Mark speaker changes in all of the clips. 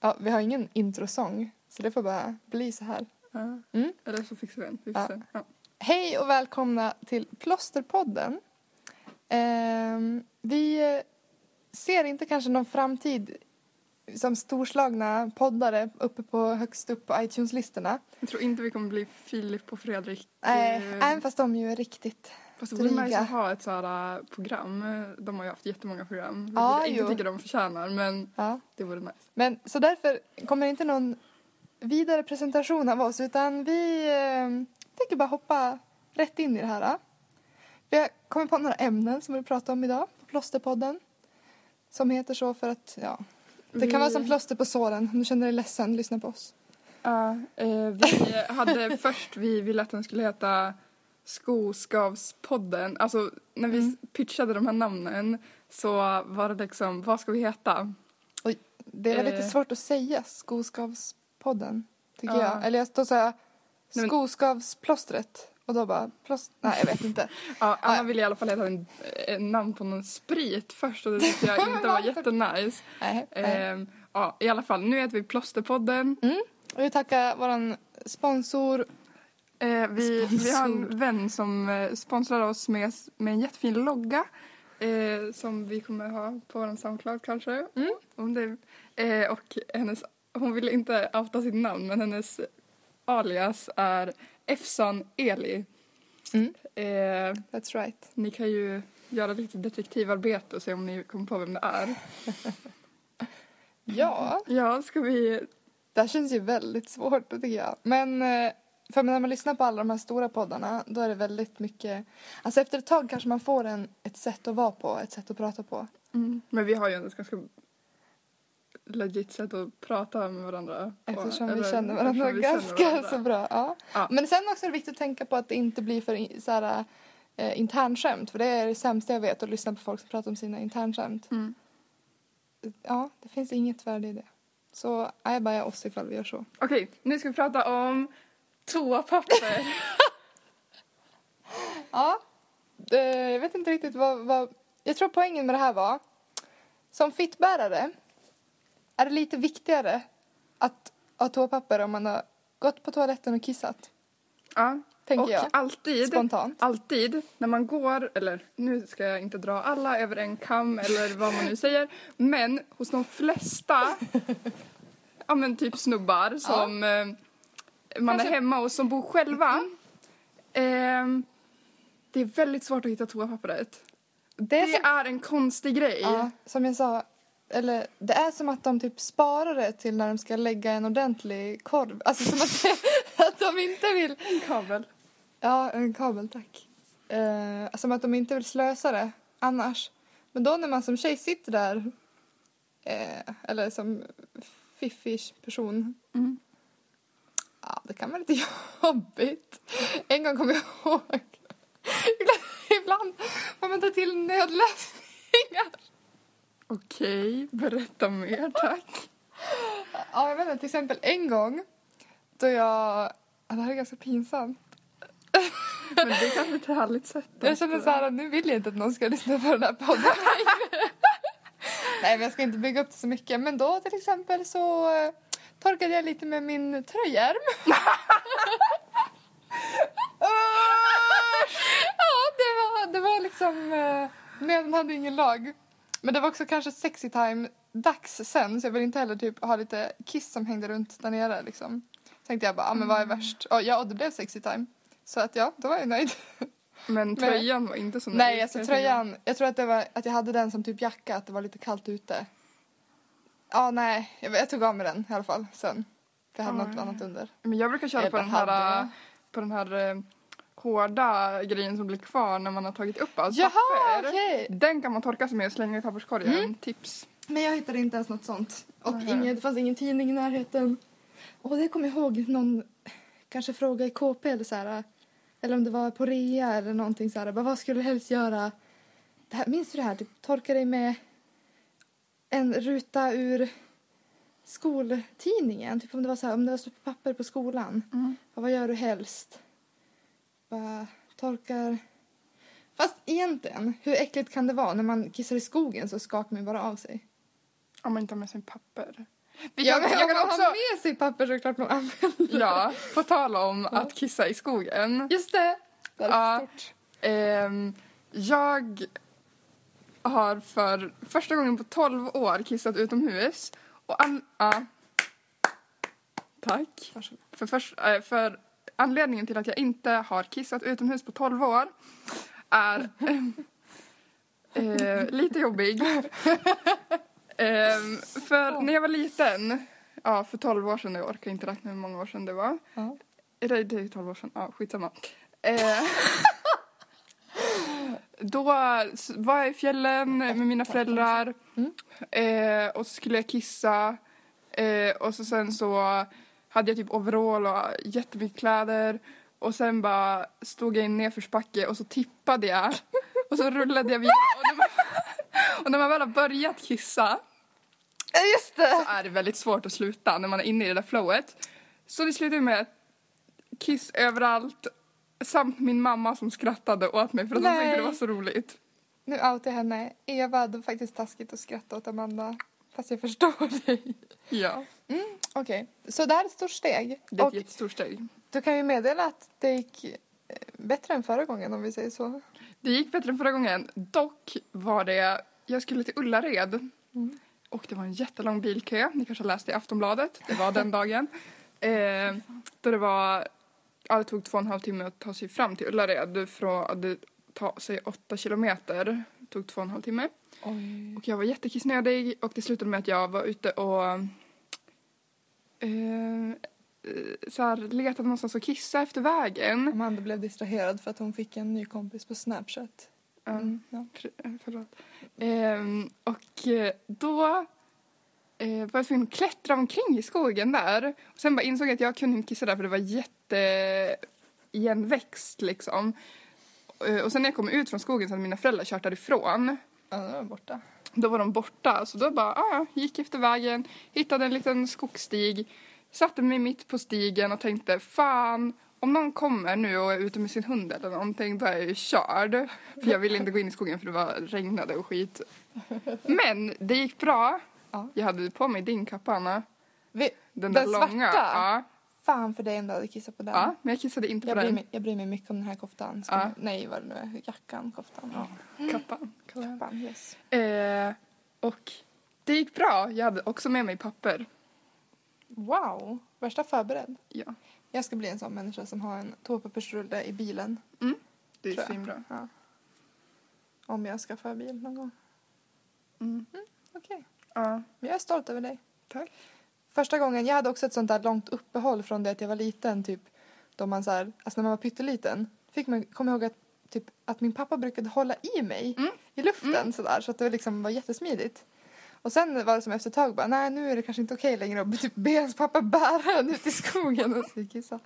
Speaker 1: Ja, vi har ingen introsång, så det får bara bli så här.
Speaker 2: Ja.
Speaker 1: Mm.
Speaker 2: Eller så fixar vi en. Vi får
Speaker 1: Ja.
Speaker 2: se. Ja.
Speaker 1: Hej och välkomna till Plåsterpodden. Ehm, vi ser inte kanske någon framtid som storslagna poddare uppe på högst upp på iTunes-listorna.
Speaker 2: Jag tror inte vi kommer bli Filip och Fredrik.
Speaker 1: Nej,
Speaker 2: eh,
Speaker 1: även fast de ju är riktigt...
Speaker 2: Fast det vore nice
Speaker 1: dryga.
Speaker 2: att ha ett sådär program. De har ju haft jättemånga program. vilket
Speaker 1: Ja,
Speaker 2: jag
Speaker 1: jo.
Speaker 2: inte tycker de förtjänar men
Speaker 1: Ja.
Speaker 2: det vore nice.
Speaker 1: Men så därför kommer inte någon vidare presentation av oss utan vi eh, tänker bara hoppa rätt in i det här. eh. Vi har kommit på några ämnen som vi vill prata om idag på Plåsterpodden. Som heter så för att, ja, det
Speaker 2: Vi-
Speaker 1: kan vara som plåster på såren. Om du känner dig ledsen, lyssna på oss.
Speaker 2: Ja, eh, vi hade först, vi ville att den skulle heta Skoskavspodden. Alltså när vi
Speaker 1: Mm.
Speaker 2: pitchade de här namnen så var det liksom, vad ska vi heta?
Speaker 1: Det var lite
Speaker 2: Eh.
Speaker 1: svårt att säga Skoskavspodden, tycker
Speaker 2: Ja.
Speaker 1: jag. Eller jag då sa jag
Speaker 2: men-
Speaker 1: Skoskavsplåstret och då bara plåst... Nej, jag vet inte.
Speaker 2: Ja, Anna
Speaker 1: Ja.
Speaker 2: ville i alla fall heta en, en namn på någon sprit först och det tyckte jag inte var jättenice.
Speaker 1: Nej, nej.
Speaker 2: Eh, ja, i alla fall, nu heter vi Plåsterpodden.
Speaker 1: Och vi tackar vår sponsor
Speaker 2: Eh, vi,
Speaker 1: Sponsor.
Speaker 2: vi har en vän som eh, sponsrar oss med, med en jättefin logga eh, som vi kommer ha på vår Soundcloud kanske.
Speaker 1: Mm.
Speaker 2: Om det, eh, och hennes, hon vill inte outa sitt namn men hennes alias är Efsan Eli.
Speaker 1: Mm.
Speaker 2: Eh,
Speaker 1: That's right.
Speaker 2: ni kan ju göra lite detektivarbete och se om ni kommer på vem det är.
Speaker 1: Ja,
Speaker 2: Ja, ska vi...
Speaker 1: det här känns ju väldigt svårt tycker jag. Men eh, för när man lyssnar på alla de här stora poddarna då är det väldigt mycket, alltså efter ett tag kanske man får en, ett sätt att vara på, ett sätt att prata på.
Speaker 2: Men vi har ju ett ganska legit sätt att prata med varandra. på,
Speaker 1: Eftersom vi
Speaker 2: eller-
Speaker 1: känner varandra
Speaker 2: eftersom vi känner
Speaker 1: ganska
Speaker 2: varandra.
Speaker 1: så bra. Ja.
Speaker 2: Ja.
Speaker 1: Men sen också är det viktigt att tänka på att det inte blir för in- så här, eh, internskämt för det är det sämsta jag vet att lyssna på folk som pratar om sina internskämt.
Speaker 2: Mm.
Speaker 1: Ja, det finns inget värde i det. Så I buy oss ifall vi gör så.
Speaker 2: Okej, nu ska vi prata om toapapper.
Speaker 1: Ja. Eh, Jag vet inte riktigt vad, vad... Jag tror poängen med det här var... Som fittbärare är det lite viktigare att ha toapapper om man har gått på toaletten och kissat.
Speaker 2: ja,
Speaker 1: Tänker
Speaker 2: och
Speaker 1: jag.
Speaker 2: alltid,
Speaker 1: Spontant.
Speaker 2: alltid när man går, eller nu ska jag inte dra alla över en kam eller vad man nu säger, men hos de flesta, ja men typ snubbar som eh, man
Speaker 1: Kanske- Mm.
Speaker 2: är hemma och som bor själva, ehm, det är väldigt svårt att hitta toapappret.
Speaker 1: Det
Speaker 2: Det
Speaker 1: är,
Speaker 2: är,
Speaker 1: som,
Speaker 2: en konstig grej.
Speaker 1: ja, som jag sa... Eller, det är som att de typ sparar det till när de ska lägga en ordentlig korv. Alltså som att, att de inte vill...
Speaker 2: En kabel.
Speaker 1: Ja, en kabel, tack. Eh, som att de inte vill slösa det annars. Men då när man som tjej sitter där, eh, eller som fiffig person,
Speaker 2: Mm.
Speaker 1: ja, det kan vara lite jobbigt. En gång kommer jag ihåg, ibland, ibland får man tar till nödlösningar.
Speaker 2: Okej, berätta mer tack.
Speaker 1: Ja, jag vet inte, till exempel en gång då jag, ja, det här är ganska pinsamt.
Speaker 2: Men det är kanske ett härligt sätt.
Speaker 1: Jag
Speaker 2: att-
Speaker 1: känner så här, nu vill jag inte att någon ska lyssna på den här podden längre. Nej, men jag ska inte bygga upp det så mycket. Men då till exempel så eh, torkade jag lite med min tröjärm. ja, det var, det var liksom... eh, Nöden hade ingen lag. Men det var också kanske sexy time dags sen så jag vill inte heller typ ha lite kiss som hängde runt där nere liksom. Tänkte jag bara, ah, men vad är värst? Och, ja, och det blev sexy time. Så att ja, då var jag nöjd.
Speaker 2: Men tröjan var inte så nöjd,
Speaker 1: Nej, alltså
Speaker 2: kan jag tänka mig.
Speaker 1: tröjan. Jag tror att, det var, att jag hade den som typ jacka, att det var lite kallt ute. Ja, nej. Jag, jag tog av mig den i alla fall sen. För jag hade
Speaker 2: Ja,
Speaker 1: något
Speaker 2: ja,
Speaker 1: annat under.
Speaker 2: Men jag brukar köra på
Speaker 1: Eller
Speaker 2: den, här,
Speaker 1: hade
Speaker 2: eh, på den här eh, hårda grejen som blir kvar när man har tagit upp allt
Speaker 1: Jaha,
Speaker 2: papper.
Speaker 1: okej. Mm.
Speaker 2: Den kan man torka sig med och slänga i papperskorgen. Tips.
Speaker 1: Men jag hittade inte ens något sånt. Och
Speaker 2: Nej.
Speaker 1: ingen, det fanns ingen tidning i närheten. Och det kommer jag ihåg någon kanske fråga i KP eller så här. Eller om det var på rea eller någonting så här. Bara, vad skulle du helst göra? Det här, minns du det här? Typ, torka dig med en ruta ur skoltidningen. Typ om det var så här, om det var så på papper på skolan.
Speaker 2: Mm.
Speaker 1: Bara, vad gör du helst? Bara torkar... Fast egentligen, hur äckligt kan det vara? När man kissar i skogen så skakar man ju bara av sig.
Speaker 2: Om man inte har med sig papper. Vi
Speaker 1: Ja,
Speaker 2: kan,
Speaker 1: men
Speaker 2: jag kan också...
Speaker 1: har med sig papper så är det klart man använder.
Speaker 2: Ja, på tal om att kissa i skogen.
Speaker 1: Just det! Där är
Speaker 2: Ja.
Speaker 1: stort.
Speaker 2: Ehm, jag har för första gången på 12 år kissat utomhus. Och an- ja. Tack.
Speaker 1: Varsågod.
Speaker 2: För, först, eh, för anledningen till att jag inte har kissat utomhus på 12 år är eh, eh, lite jobbig. Ehm, för när jag var liten, ja för 12 år sedan, jag orkar inte räkna hur många år sedan det var.
Speaker 1: Ja.
Speaker 2: Eller det är ju 12 år sedan, ja skitsamma. Eh, då s- var jag i fjällen med mina föräldrar eh, och så skulle jag kissa eh, och så sen så hade jag typ overall och jättemycket kläder och sen bara stod jag i en nedförsbacke och så tippade jag och så rullade jag vidare och när man, och när man väl har börjat kissa
Speaker 1: Ja, Just det!
Speaker 2: så är det väldigt svårt att sluta när man är inne i det där flowet. Så det slutade med kiss överallt samt min mamma som skrattade åt mig för att hon
Speaker 1: Nej.
Speaker 2: tyckte det var så roligt.
Speaker 1: Nu outar jag henne. Eva, det var faktiskt taskigt att skratta åt Amanda. Fast jag förstår dig.
Speaker 2: Ja,
Speaker 1: Mm, Okej, så det här är ett stort steg.
Speaker 2: det är ett
Speaker 1: Och
Speaker 2: jättestort steg.
Speaker 1: du kan ju meddela att det gick eh, bättre än förra gången om vi säger så.
Speaker 2: Det gick bättre än förra gången. Dock var det, jag skulle till Ullared
Speaker 1: Mm.
Speaker 2: och det var en jättelång bilkö. Ni kanske har läst det i Aftonbladet, det var den dagen. Eh, då det var, ja det tog två och en halv timme att ta sig fram till Ullared. Från, det ta sig åtta kilometer, det tog två och en halv timme.
Speaker 1: Oj.
Speaker 2: Och jag var jättekissnödig och det slutade med att jag var ute och eh, eh, så här, letade någonstans att kissa efter vägen.
Speaker 1: Amanda blev distraherad för att hon fick en ny kompis på Snapchat.
Speaker 2: Mm.
Speaker 1: Ja.
Speaker 2: Fr- Förlåt. Ehm, och eh, då eh, var jag tvungen att klättra omkring i skogen där. Och sen bara insåg jag att jag kunde inte kissa där för det var jätte igenväxt liksom. Eh, Och sen när jag kom ut från skogen så hade mina föräldrar kört därifrån.
Speaker 1: Ja, nu är den borta.
Speaker 2: Då var de borta, så då bara, ah, ja, gick efter vägen, hittade en liten skogsstig, satte mig mitt på stigen och tänkte, fan, om någon kommer nu och är ute med sin hund eller någonting, då är jag ju körd. För jag ville inte gå in i skogen för det var regnade och skit. Men det gick bra.
Speaker 1: Ja.
Speaker 2: Jag hade på mig din kappa, Anna.
Speaker 1: Vi, den
Speaker 2: Den, där långa.
Speaker 1: svarta?
Speaker 2: Ja,
Speaker 1: Fan för dig om du hade kissat på den.
Speaker 2: ja, men jag kissade inte
Speaker 1: Jag
Speaker 2: på
Speaker 1: bryr,
Speaker 2: den
Speaker 1: mig, jag bryr mig mycket om den här koftan. Ska
Speaker 2: Ja.
Speaker 1: man- Nej, vad det nu är. Jackan, koftan. Ja.
Speaker 2: kappan.
Speaker 1: Kappan, yes.
Speaker 2: Eh, och det gick bra. Jag hade också med mig papper.
Speaker 1: Wow, värsta förberedd.
Speaker 2: Ja,
Speaker 1: Jag ska bli en sån människa som har en toapappersrulle i bilen.
Speaker 2: Mm. det är
Speaker 1: tror jag.
Speaker 2: svinbra.
Speaker 1: Ja. Om jag skaffar bil någon gång.
Speaker 2: Mm.
Speaker 1: Okej,
Speaker 2: Ja.
Speaker 1: men jag är stolt över dig.
Speaker 2: Tack.
Speaker 1: Första gången, jag hade också ett sånt där långt uppehåll från det att jag var liten, typ då man så här, alltså när man var pytteliten, fick man komma ihåg att, typ, att min pappa brukade hålla i mig
Speaker 2: Mm.
Speaker 1: i luften så där, så att det liksom var jättesmidigt. Och sen var det som efter ett tag bara, nej nu är det kanske inte okej längre att typ be ens pappa bära en ut i skogen och så kissa.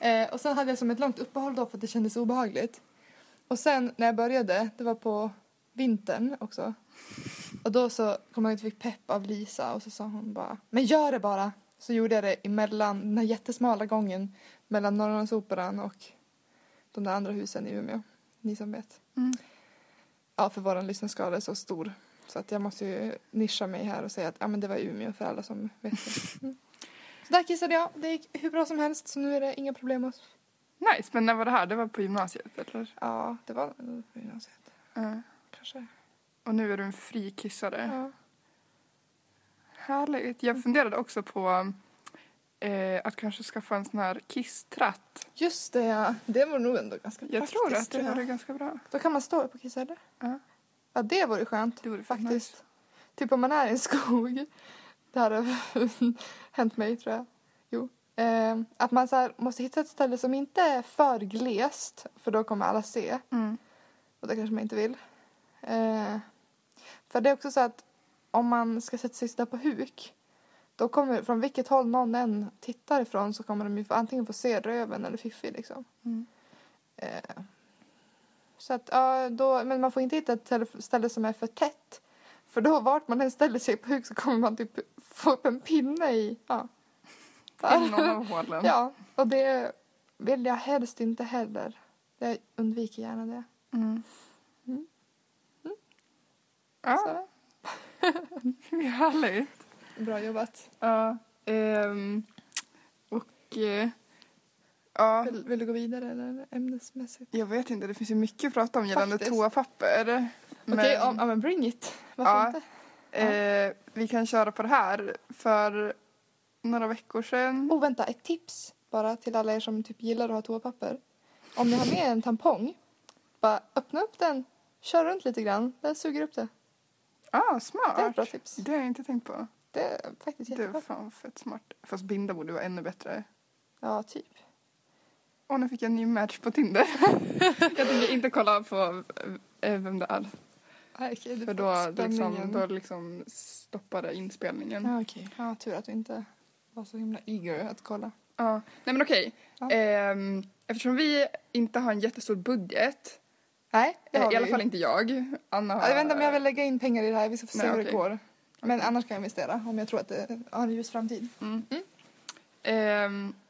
Speaker 1: Eh, och sen hade jag som ett långt uppehåll då för att det kändes obehagligt. Och sen när jag började, det var på vintern också, och då så kom jag ihåg att jag fick pepp av Lisa och så sa hon bara Men gör det bara! Så gjorde jag det emellan den här jättesmala gången mellan Norrlandsoperan och de där andra husen i Umeå. Ni som vet.
Speaker 2: Mm.
Speaker 1: Ja, för våran lyssnarskala är så stor. Så att jag måste ju nischa mig här och säga att ja, men det var Umeå för alla som vet det. Mm. Så där kissade jag. Det gick hur bra som helst så nu är det inga problem. Att...
Speaker 2: Nice, men när var det här? Det var på gymnasiet, eller?
Speaker 1: Ja, det var nog på gymnasiet. Kanske.
Speaker 2: Och nu är du en frikissare.
Speaker 1: Ja. Mm.
Speaker 2: Härligt. Jag funderade också på eh, att kanske skaffa en sån här kisstratt.
Speaker 1: Just det, ja. Det var nog ändå ganska
Speaker 2: Jag
Speaker 1: praktiskt.
Speaker 2: tror att det
Speaker 1: tror jag.
Speaker 2: vore ganska bra.
Speaker 1: Då kan man stå upp och kissa, eller?
Speaker 2: Ja.
Speaker 1: Ja, det vore skönt.
Speaker 2: Det vore fan
Speaker 1: faktiskt.
Speaker 2: nice.
Speaker 1: Typ om man är i en skog. Det här har hänt mig, tror jag. Jo. Eh, att man så här, måste hitta ett ställe som inte är för glest, för då kommer alla se.
Speaker 2: Mm.
Speaker 1: Och det kanske man inte vill. Eh, för det är också så att om man ska sätta sig där på huk då kommer, från vilket håll någon än tittar ifrån så kommer de ju få, antingen få se röven eller fiffi liksom.
Speaker 2: Mm.
Speaker 1: Eh, så att, ja, då, men man får inte hitta ett tele- ställe som är för tätt. För då vart man än ställer sig på huk så kommer man typ få upp en pinne i, ja.
Speaker 2: I någon av hålen.
Speaker 1: ja, och det vill jag helst inte heller. Jag undviker gärna det.
Speaker 2: Mm.
Speaker 1: Mm.
Speaker 2: Ja. Det är Härligt.
Speaker 1: Bra jobbat.
Speaker 2: Ja. ehm, och... eh, ja,
Speaker 1: Vill, vill du gå vidare eller ämnesmässigt?
Speaker 2: jag vet inte. Det finns ju mycket att prata om gällande
Speaker 1: Faktiskt.
Speaker 2: toapapper. Men,
Speaker 1: Okej, ja ja, men bring it. Varför
Speaker 2: Ja.
Speaker 1: inte?
Speaker 2: eh, vi kan köra på det här. För några veckor sedan...
Speaker 1: Oh, vänta, ett tips bara till alla er som typ gillar att ha toapapper. Om ni har med en tampong, bara öppna upp den, kör runt lite grann, den suger upp det.
Speaker 2: Ah,
Speaker 1: Det är ett
Speaker 2: smart!
Speaker 1: bra tips.
Speaker 2: Det har jag inte tänkt på.
Speaker 1: Det är faktiskt
Speaker 2: Det var
Speaker 1: jättebra.
Speaker 2: fan fett smart. Fast binda borde vara ännu bättre.
Speaker 1: Ja, typ.
Speaker 2: Åh, nu fick jag en ny match på Tinder. jag tänker inte kolla på eh, vem det är.
Speaker 1: Ah, okay,
Speaker 2: För då liksom, då liksom stoppade inspelningen.
Speaker 1: Ja, okej. Ja, tur att du inte var så himla eager att kolla.
Speaker 2: Ja. Nej men okej.
Speaker 1: Ja.
Speaker 2: Ehm, eftersom vi inte har en jättestor budget,
Speaker 1: Nej, det
Speaker 2: eh,
Speaker 1: har
Speaker 2: i alla
Speaker 1: vi.
Speaker 2: fall inte jag. Anna har...
Speaker 1: Ja, vänta, men jag vill lägga in pengar i det här. Vi ska få se
Speaker 2: Nej,
Speaker 1: hur det
Speaker 2: okej.
Speaker 1: går. Men annars kan jag investera om jag tror att det har en ljus framtid.
Speaker 2: Mm. Ehm.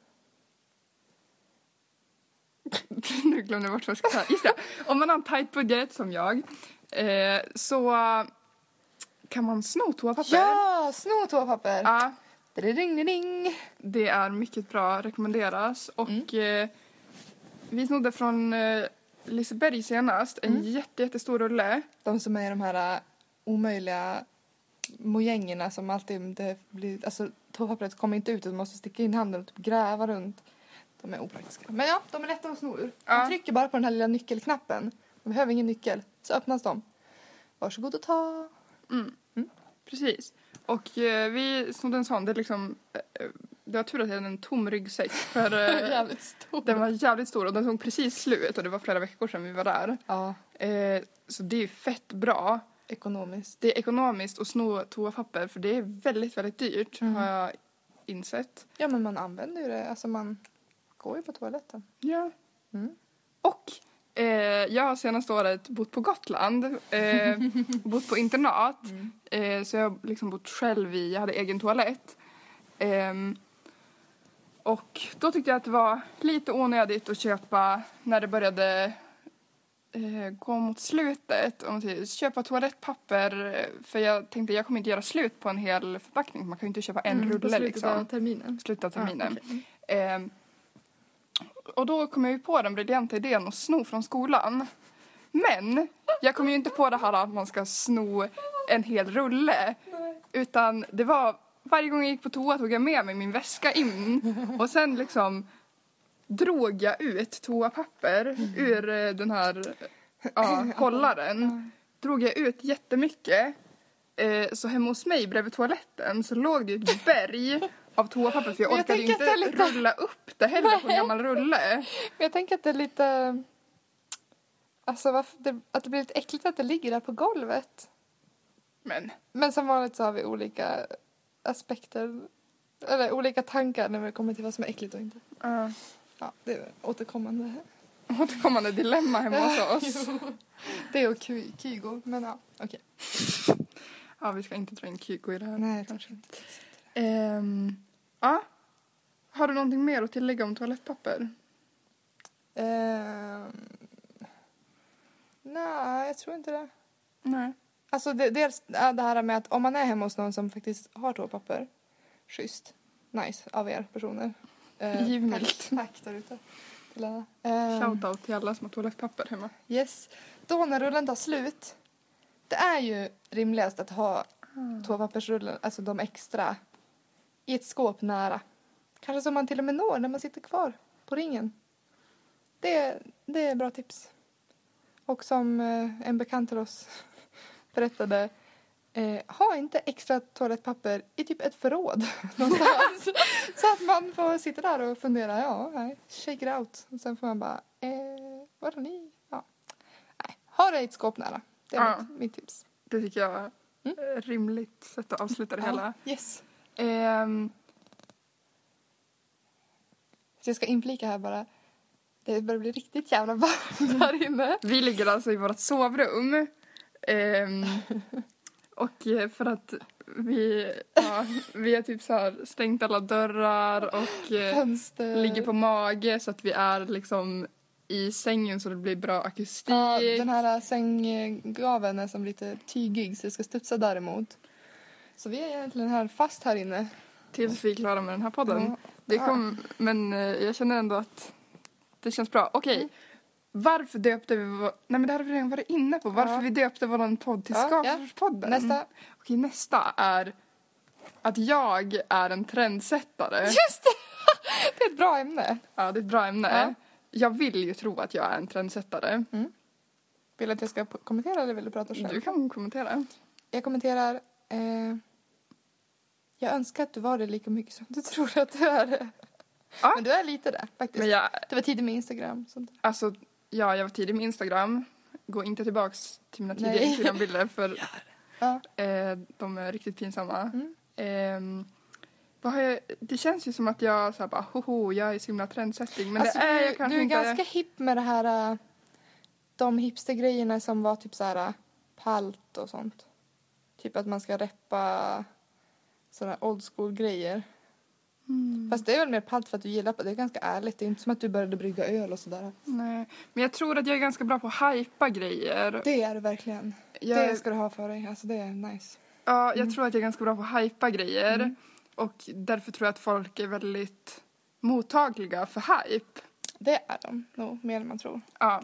Speaker 2: nu glömde jag bort vad jag skulle säga. Just det. Om man har en tajt budget som jag eh, så kan man sno toapapper.
Speaker 1: Ja, sno toapapper!
Speaker 2: Ja,
Speaker 1: Ding, ding.
Speaker 2: det är mycket bra, rekommenderas. Och eh, vi snodde från eh, Liseberg senast en jätte, jättestor rulle.
Speaker 1: De som är de här äh, omöjliga mojängerna som alltid det blir... Alltså toapappret kommer inte ut utan man måste sticka in handen och typ gräva runt. De är opraktiska. Men ja, de är lätta att sno ur.
Speaker 2: Ja.
Speaker 1: Man trycker bara på den här lilla nyckelknappen. Man behöver ingen nyckel. Så öppnas de. Varsågod och ta.
Speaker 2: Precis. Och eh, vi snodde en sån. Det, är liksom, eh, det var tur att jag hade en tom ryggsäck. För, eh,
Speaker 1: Jävligt stor.
Speaker 2: den var jävligt stor och den tog precis slut och det var flera veckor sedan vi var där.
Speaker 1: Ja,
Speaker 2: Eh, så det är ju fett bra.
Speaker 1: ekonomiskt.
Speaker 2: Det är ekonomiskt att sno toapapper för det är väldigt, väldigt dyrt har jag insett.
Speaker 1: Ja, men man använder ju det. Alltså man går ju på toaletten.
Speaker 2: Ja.
Speaker 1: Mm.
Speaker 2: Och eh, jag har senaste året bott på Gotland, eh, bott på internat.
Speaker 1: Mm.
Speaker 2: Eh, så jag har liksom bott själv i, jag hade egen toalett. Ehm, och då tyckte jag att det var lite onödigt att köpa när det började eh, gå mot slutet. Om man säger, köpa toalettpapper eh, för jag tänkte jag kommer inte göra slut på en hel förpackning. Man kan ju inte köpa en
Speaker 1: Mm,
Speaker 2: rulle liksom
Speaker 1: terminen.
Speaker 2: slutet av terminen.
Speaker 1: Ja, okej.
Speaker 2: Ehm, och då kom jag ju på den briljanta idén att sno från skolan. Men jag kom ju inte på det här att man ska sno en hel rulle. Utan det var varje gång jag gick på toa tog jag med mig min väska in och sen liksom drog jag ut toapapper ur eh, den här ja, hållaren. Drog jag ut jättemycket. Eh, så hemma hos mig bredvid toaletten så låg det ju ett berg av toapapper för jag
Speaker 1: Men jag
Speaker 2: orkade ju
Speaker 1: tänker att det
Speaker 2: inte
Speaker 1: är lite-
Speaker 2: rulla upp det heller på en gammal rulle.
Speaker 1: Men jag tänker att det är lite... Alltså varför, det, att det blir lite äckligt att det ligger där på golvet.
Speaker 2: Men
Speaker 1: Men som vanligt så har vi olika aspekter. Eller olika tankar när vi kommer till vad som är äckligt och inte.
Speaker 2: uh,
Speaker 1: Ja, det är återkommande.
Speaker 2: återkommande dilemma hemma hos oss.
Speaker 1: Det är och Ky- Kygo, men ja, okej.
Speaker 2: Ja, vi ska inte dra in Kygo i det här.
Speaker 1: Nej, jag
Speaker 2: kanske.
Speaker 1: tror inte.
Speaker 2: Ehm, ja. Har du någonting mer att tillägga om toalettpapper?
Speaker 1: Ehm, nej, jag tror inte det.
Speaker 2: Nej.
Speaker 1: Alltså det, dels är det här med att om man är hemma hos någon som faktiskt har toapapper. Schysst. Nice av er personer. Eh,
Speaker 2: Givmilt.
Speaker 1: Tack, tack där ute. Till alla. Ehm,
Speaker 2: Shoutout till alla som har toalettpapper hemma.
Speaker 1: yes. Då när rullen tar slut. Det är ju rimligast att ha toapappersrullen, alltså de extra, i ett skåp nära. Kanske som man till och med når när man sitter kvar på ringen. Det, det är bra tips. Och som eh, en bekant till oss berättade, eh, ha inte extra toalettpapper i typ ett förråd någonstans. Så att man får sitta där och fundera, ja, nej, shake it out. Och sen får man bara, eh, var är ni? Ja. Nej, ha det i ett skåp nära. Det är
Speaker 2: Ja.
Speaker 1: mitt, mitt tips.
Speaker 2: Det tycker jag är ett rimligt sätt att avsluta det hela.
Speaker 1: Ja, yes.
Speaker 2: Ehm,
Speaker 1: Så jag ska inflika här bara. Det börjar bli riktigt jävla varmt här inne.
Speaker 2: vi ligger alltså i vårt sovrum. Ehm, och eh, för att vi, ja, vi har typ så här stängt alla dörrar och eh,
Speaker 1: Fönster.
Speaker 2: ligger på mage så att vi är liksom i sängen så det blir bra akustik.
Speaker 1: Ja, den här sänggaveln är som lite tygig så det ska studsa däremot. Så vi är egentligen här fast här inne.
Speaker 2: Tills vi är klara med den här podden.
Speaker 1: Ja.
Speaker 2: Det kom, men eh, jag känner ändå att det känns bra. Okej.
Speaker 1: Mm.
Speaker 2: Varför döpte vi vår... Nej men det hade vi redan varit inne på. Varför
Speaker 1: Ja.
Speaker 2: vi döpte vår podd till
Speaker 1: Ja, ja.
Speaker 2: Skapspodden.
Speaker 1: Nästa.
Speaker 2: Okej, nästa är att jag är en trendsättare.
Speaker 1: Just det! Det är ett bra ämne.
Speaker 2: Ja, det är ett bra ämne.
Speaker 1: Ja.
Speaker 2: Jag vill ju tro att jag är en trendsättare.
Speaker 1: Vill du att jag ska po- kommentera eller vill du prata själv?
Speaker 2: Du kan kommentera.
Speaker 1: Jag kommenterar. Eh, jag önskar att du var det lika mycket som du tror att du är det.
Speaker 2: Ja.
Speaker 1: Men du är lite det faktiskt.
Speaker 2: Men jag,
Speaker 1: Det var tidigt med Instagram. och Sånt. där.
Speaker 2: alltså, ja, jag var tidig med Instagram. Gå inte tillbaks till mina tidiga
Speaker 1: Nej.
Speaker 2: Instagram-bilder för
Speaker 1: Ja.
Speaker 2: Eh, de är riktigt pinsamma.
Speaker 1: Mm.
Speaker 2: Ehm, vad har jag, det känns ju som att jag så här bara, hoho, jag är så himla trendsetting. Men
Speaker 1: Alltså,
Speaker 2: det är
Speaker 1: du,
Speaker 2: jag kanske
Speaker 1: du är
Speaker 2: inte.
Speaker 1: ganska hipp med det här. eh, De hipstergrejerna som var typ så här eh, palt och sånt. Typ att man ska reppa sådana old school grejer.
Speaker 2: Mm,
Speaker 1: Fast det är väl mer palt för att du gillar på det. är ganska ärligt. Det är inte som att du började brygga öl och sådär.
Speaker 2: nej. Men jag tror att jag är ganska bra på att hypa grejer.
Speaker 1: Det är du verkligen.
Speaker 2: Jag,
Speaker 1: Det ska du ha för dig. Alltså det är nice.
Speaker 2: ja, jag tror att jag är ganska bra på att hypa grejer. Och därför tror jag att folk är väldigt mottagliga för hype.
Speaker 1: Det är de nog mer än man tror.
Speaker 2: Ja.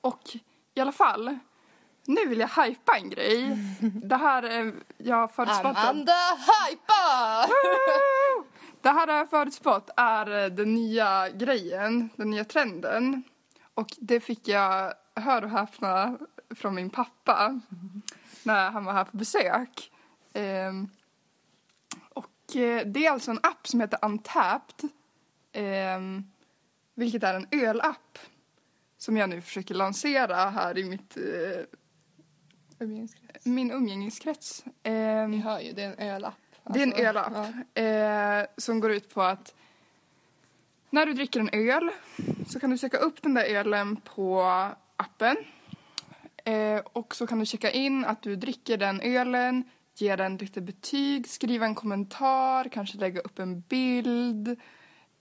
Speaker 2: Och i alla fall, nu vill jag hypa en grej. Det här är, jag har förutspått att-
Speaker 1: hypa!
Speaker 2: Det här har jag förutspått är eh, den nya grejen, den nya trenden. Och det fick jag, hör och häpna, från min pappa när han var här på besök. Ehm, och eh, det är alltså en app som heter Untapped, ehm, vilket är en ölapp som jag nu försöker lansera här i mitt, eh,
Speaker 1: Umgängeskrets.
Speaker 2: min umgängeskrets. Ehm,
Speaker 1: Ni hör ju, det är en ölapp.
Speaker 2: det är en
Speaker 1: Alltså,
Speaker 2: ölapp
Speaker 1: ja.
Speaker 2: eh, som går ut på att när du dricker en öl så kan du söka upp den där ölen på appen eh, och så kan du checka in att du dricker den ölen, ge den lite betyg, skriva en kommentar, kanske lägga upp en bild,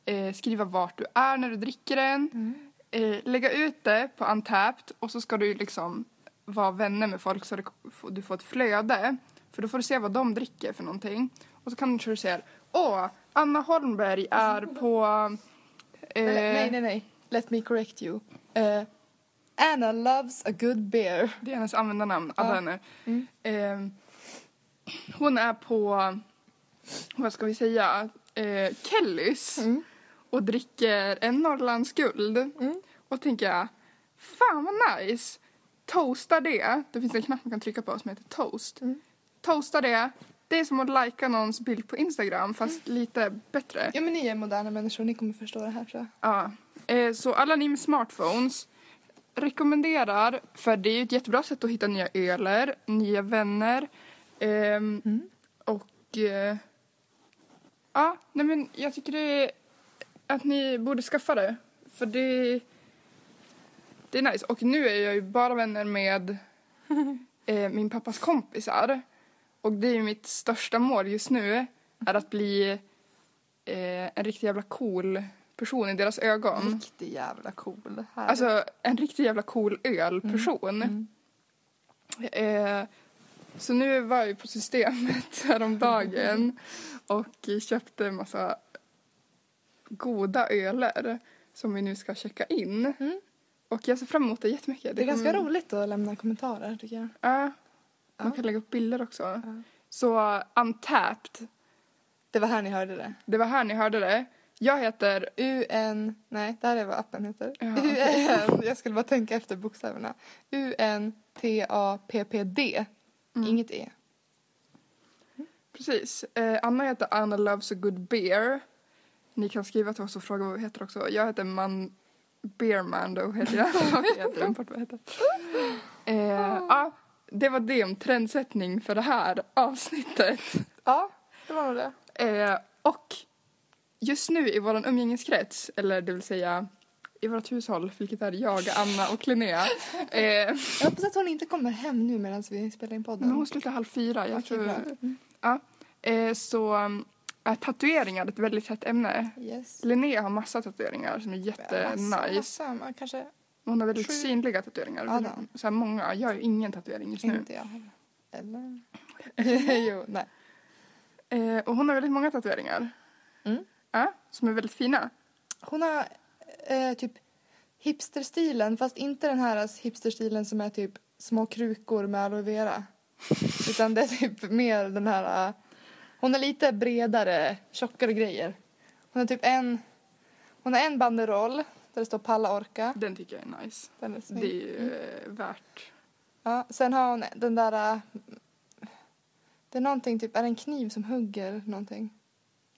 Speaker 2: eh, skriva vart du är när du dricker den,
Speaker 1: Mm.
Speaker 2: eh, lägga ut det på Untapped och så ska du ju liksom vara vänner med folk så du- du får ett flöde. För då får du se vad de dricker för någonting. Och så kanske du ser, åh, Anna Holmberg är på... Eh,
Speaker 1: Nej, nej, nej, nej. Let me correct you. Eh, Anna loves a good beer.
Speaker 2: Det är hennes användarnamn, alla
Speaker 1: Ja.
Speaker 2: henne.
Speaker 1: Mm.
Speaker 2: Eh, hon är på, vad ska vi säga, eh, Kellys
Speaker 1: Mm.
Speaker 2: och dricker en Norrlands guld. Och tänker jag, fan vad nice! Toasta det. Det finns en knapp man kan trycka på som heter toast.
Speaker 1: Mm.
Speaker 2: Toasta det. Det är som att lajka någons bild på Instagram fast
Speaker 1: Mm.
Speaker 2: lite bättre.
Speaker 1: Ja, men ni är moderna människor. Ni kommer förstå det här, tror jag.
Speaker 2: Ja. Eh, så alla ni med smartphones rekommenderar, för det är ju ett jättebra sätt att hitta nya öler, nya vänner. ehm, Och eh, ja, nej men jag tycker det, att ni borde skaffa det. För det, det är nice. Och nu är jag ju bara vänner med eh, min pappas kompisar. Och det är ju mitt största mål just nu, är att bli eh, en riktigt jävla cool person i deras ögon.
Speaker 1: Riktig jävla cool. Mm. Här.
Speaker 2: Mm. Alltså en riktigt jävla cool ölperson. Eh, så nu var jag ju på systemet häromdagen och köpte en massa goda öler som vi nu ska checka in.
Speaker 1: Mm.
Speaker 2: Och jag ser fram emot det jättemycket.
Speaker 1: det är ganska
Speaker 2: kommer-
Speaker 1: roligt att lämna kommentarer, tycker jag.
Speaker 2: Ja. Man
Speaker 1: Ja.
Speaker 2: kan lägga upp bilder också.
Speaker 1: Ja.
Speaker 2: Så Untapped,
Speaker 1: Det var här ni hörde det.
Speaker 2: det var här ni hörde det. Jag heter
Speaker 1: UN... Nej, det här är vad appen heter.
Speaker 2: Ja,
Speaker 1: UN... Jag skulle bara tänka efter bokstäverna. U-N-T-A-P-P-D. Inget E.
Speaker 2: Precis. Eh, Anna heter Anna Loves a Good Beer. Ni kan skriva till oss och fråga vad vi heter också. Jag heter Man... Beermando heter jag. jag har glömt bort vad jag heter.
Speaker 1: Ah.
Speaker 2: Eh, ja, det var det om trendsättning för det här avsnittet.
Speaker 1: Ja, det var nog det.
Speaker 2: Eh, och just nu i vår umgängeskrets, eller det vill säga i vårt hushåll, vilket är jag, Anna och Linnea. Eh,
Speaker 1: Jag hoppas att hon inte kommer hem nu medan vi spelar in podden.
Speaker 2: men hon slutar halv fyra. Jag
Speaker 1: Okej,
Speaker 2: tror,
Speaker 1: bra. Mm.
Speaker 2: ja, eh, så um, är tatueringar ett väldigt hett ämne.
Speaker 1: Yes.
Speaker 2: Linnea har massa tatueringar som är
Speaker 1: Massa,
Speaker 2: jättenice.
Speaker 1: massa, man kanske
Speaker 2: Hon har väldigt
Speaker 1: Sju.
Speaker 2: synliga tatueringar.
Speaker 1: Ja, då.
Speaker 2: Så här många. Jag har ju ingen tatuering just nu.
Speaker 1: inte jag heller. Eller? jo, nej.
Speaker 2: Eh, och hon har väldigt många tatueringar.
Speaker 1: Mm.
Speaker 2: Ja, som är väldigt fina.
Speaker 1: Hon har eh, typ hipsterstilen, fast inte den här alltså, hipsterstilen som är typ små krukor med aloe vera. Utan det är typ mer den här... eh, hon är lite bredare, tjockare grejer. Hon har typ en... Hon har en banderoll där det står Palla Orka.
Speaker 2: Den tycker jag är nice.
Speaker 1: Den är
Speaker 2: Det är
Speaker 1: snygg.
Speaker 2: ju eh, värt.
Speaker 1: Ja, sen har hon den där... eh, Det är någonting, typ, är det en kniv som hugger någonting?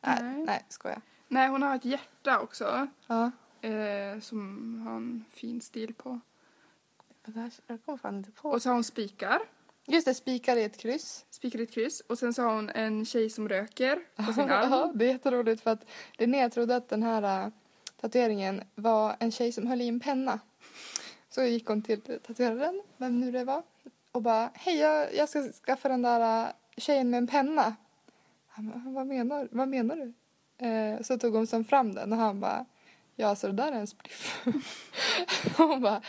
Speaker 2: Nej.
Speaker 1: Nej, nej skojar.
Speaker 2: Nej, hon har ett hjärta också.
Speaker 1: Ja.
Speaker 2: Eh, som har en fin stil på.
Speaker 1: Det här- Jag kommer fan inte på.
Speaker 2: Och så har hon spikar.
Speaker 1: Just det, spikar i ett kryss.
Speaker 2: Spikar i ett kryss. Och sen så har hon en tjej som röker på sin
Speaker 1: Ja,
Speaker 2: arm.
Speaker 1: det är jätteroligt för att Linnea trodde att den här äh, tatueringen var en tjej som höll i en penna. Så gick hon till tatueraren, vem nu det var, och bara hej jag, jag ska skaffa den där äh, tjejen med en penna. Han bara, vad menar, vad menar du? Eh, så tog hon sen fram den och han bara ja alltså det där är en spliff. och hon bara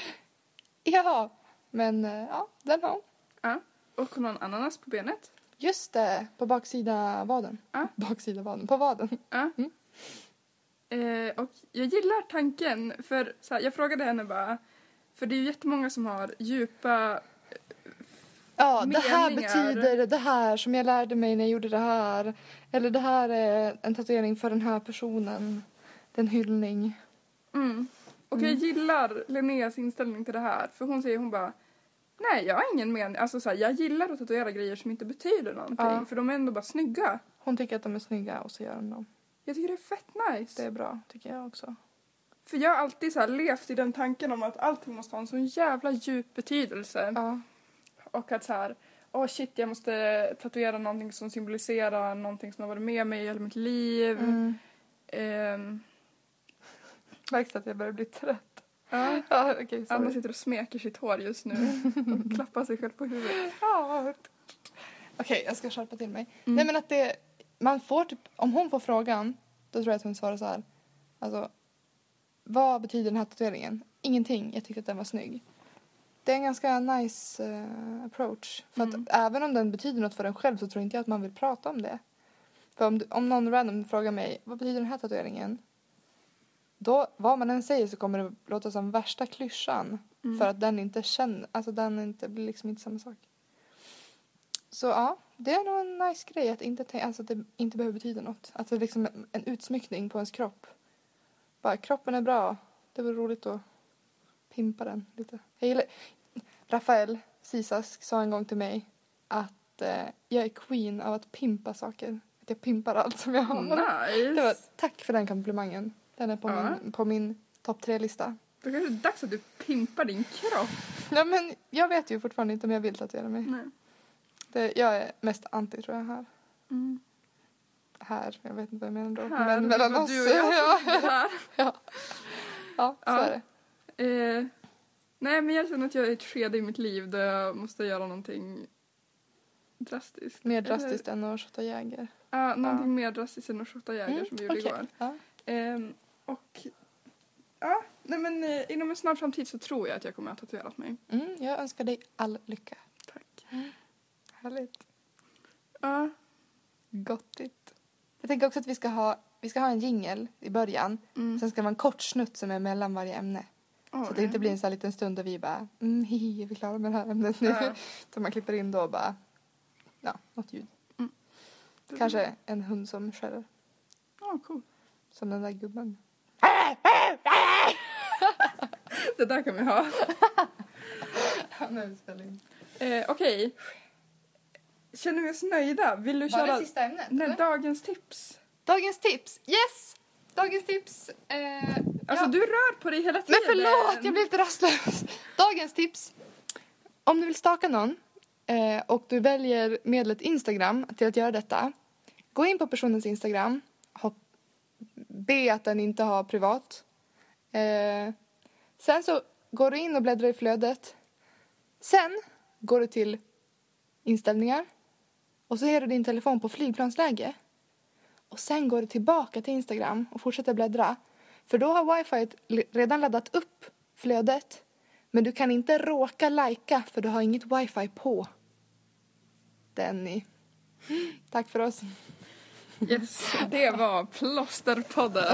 Speaker 1: jaha, men eh, ja den har hon.
Speaker 2: Ja. Och hon har en ananas på benet.
Speaker 1: Just det, på baksida vaden.
Speaker 2: Ja.
Speaker 1: Baksida vaden, på vaden.
Speaker 2: Ja.
Speaker 1: Mm.
Speaker 2: Eh, och jag gillar tanken, för så här, jag frågade henne bara, för det är ju jättemånga som har djupa,
Speaker 1: Ja, det här
Speaker 2: meningar.
Speaker 1: betyder det här som jag lärde mig när jag gjorde det här. Eller det här är en tatuering för den här personen. Det är en hyllning.
Speaker 2: mm. och jag gillar Linneas inställning till det här, för hon säger, hon bara, nej jag har ingen mening, alltså så här, jag gillar att tatuera grejer som inte betyder någonting,
Speaker 1: Ja.
Speaker 2: för de är ändå bara snygga.
Speaker 1: Hon tycker att de är snygga och så gör hon dem.
Speaker 2: Jag tycker det är fett nice.
Speaker 1: Det är bra, tycker jag också.
Speaker 2: För jag har alltid så här levt i den tanken om att allting måste ha en sån jävla djup betydelse.
Speaker 1: Ja,
Speaker 2: Och att så här, åh shit jag måste tatuera någonting som symboliserar någonting som har varit med mig i hela mitt liv.
Speaker 1: mm.
Speaker 2: Ehm,
Speaker 1: märks att jag börjar bli trött.
Speaker 2: ja.
Speaker 1: Ja, okej,
Speaker 2: Anna
Speaker 1: sorry.
Speaker 2: sitter och smeker sitt hår just nu och klappar sig själv på huvudet.
Speaker 1: Ja. Okej, jag ska skärpa till mig. Nej men att det, man får typ, om hon får frågan, då tror jag att hon svarar så här. Alltså, vad betyder den här tatueringen? Ingenting, jag tyckte att den var snygg. Det är en ganska nice eh, approach. För
Speaker 2: Mm.
Speaker 1: att även om den betyder något för en själv så tror inte jag att man vill prata om det. För om, du- om någon random frågar mig, vad betyder den här tatueringen? Då, vad man än säger så kommer det låta som värsta klyschan.
Speaker 2: Mm.
Speaker 1: För att den inte känner, alltså den inte, blir liksom inte samma sak. Så ja, det är nog en nice grej att inte, tänka- alltså, att det inte behöver betyda något. Att det är liksom en- en utsmyckning på ens kropp. Bara kroppen är bra. Det vore roligt att pimpa den lite. Jag gillar... Rafael Sisask sa en gång till mig att eh, jag är queen av att pimpa saker. Att jag pimpar allt som jag har.
Speaker 2: Nice!
Speaker 1: Mm. Det var, tack för den komplimangen. Den är på
Speaker 2: Ja.
Speaker 1: min, på min topp tre-lista.
Speaker 2: Då kanske det är dags att du pimpar din kropp.
Speaker 1: Ja, men jag vet ju fortfarande inte om jag vill tatuera mig.
Speaker 2: Nej.
Speaker 1: Det, jag är mest anti tror jag här.
Speaker 2: Mm.
Speaker 1: Här, jag vet inte vad jag menar då.
Speaker 2: Här,
Speaker 1: men mellan
Speaker 2: det var
Speaker 1: oss.
Speaker 2: du och jag
Speaker 1: ja,
Speaker 2: som sitter här.
Speaker 1: ja, så
Speaker 2: Ja.
Speaker 1: är det.
Speaker 2: Eh, nej men jag känner att jag är i ett skede i mitt liv där jag måste göra någonting drastiskt.
Speaker 1: Mer
Speaker 2: Eller-
Speaker 1: drastiskt än att shotta Jäger.
Speaker 2: Ja, någonting mer drastiskt än att shotta jägare som vi gjorde
Speaker 1: Mm, okej.
Speaker 2: igår.
Speaker 1: Ja.
Speaker 2: Ehm, och ja, nej men eh, inom en snar framtid så tror jag att jag kommer att ha tatuerat mig.
Speaker 1: Mm, jag önskar dig all lycka.
Speaker 2: Tack.
Speaker 1: Härligt.
Speaker 2: Ja,
Speaker 1: Gottigt. Jag tänker också att vi ska ha, vi ska ha en jingel i början.
Speaker 2: mm.
Speaker 1: Sen ska det vara en kort snutt som är mellan varje ämne. Så att det
Speaker 2: Oj.
Speaker 1: inte blir en sån här liten stund där vi bara mm, hihi, är vi klara med det här ämnet nu?
Speaker 2: Ja.
Speaker 1: Så man klipper in då bara, ja, något ljud. Kanske en hund som skäller.
Speaker 2: Ja, cool.
Speaker 1: Som den där gubben.
Speaker 2: Det där kan vi ha.
Speaker 1: Han är utspelning.
Speaker 2: Eh, Okej. Känner vi oss nöjda? Vill du
Speaker 1: Var
Speaker 2: köra
Speaker 1: det sista ämnet?
Speaker 2: nej,
Speaker 1: eller?
Speaker 2: dagens tips?
Speaker 1: Dagens tips! Yes! Dagens tips. Eh,
Speaker 2: Alltså
Speaker 1: ja.
Speaker 2: du rör på dig hela
Speaker 1: Men
Speaker 2: tiden.
Speaker 1: förlåt, jag blir lite rastlös. Dagens tips. Om du vill staka någon eh, och du väljer medlet Instagram till att göra detta. Gå in på personens Instagram. Hopp, be att den inte har privat. Eh, sen så går du in och bläddrar i flödet. Sen går du till inställningar. Och så ger du din telefon på flygplansläge. Och sen går du tillbaka till Instagram och fortsätter bläddra. För då har wifi l- redan laddat upp flödet. Men du kan inte råka lajka för du har inget wifi på. Denny. Tack för oss.
Speaker 2: Yes, det var Plåsterpodden.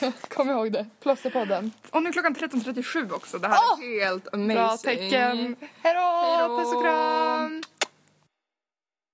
Speaker 1: Ja, kom ihåg det. Plåsterpodden.
Speaker 2: Och nu är klockan 13.37 också. Det här är helt amazing.
Speaker 1: Bra tecken. Hej då!
Speaker 2: Hej då.
Speaker 1: Puss och kram!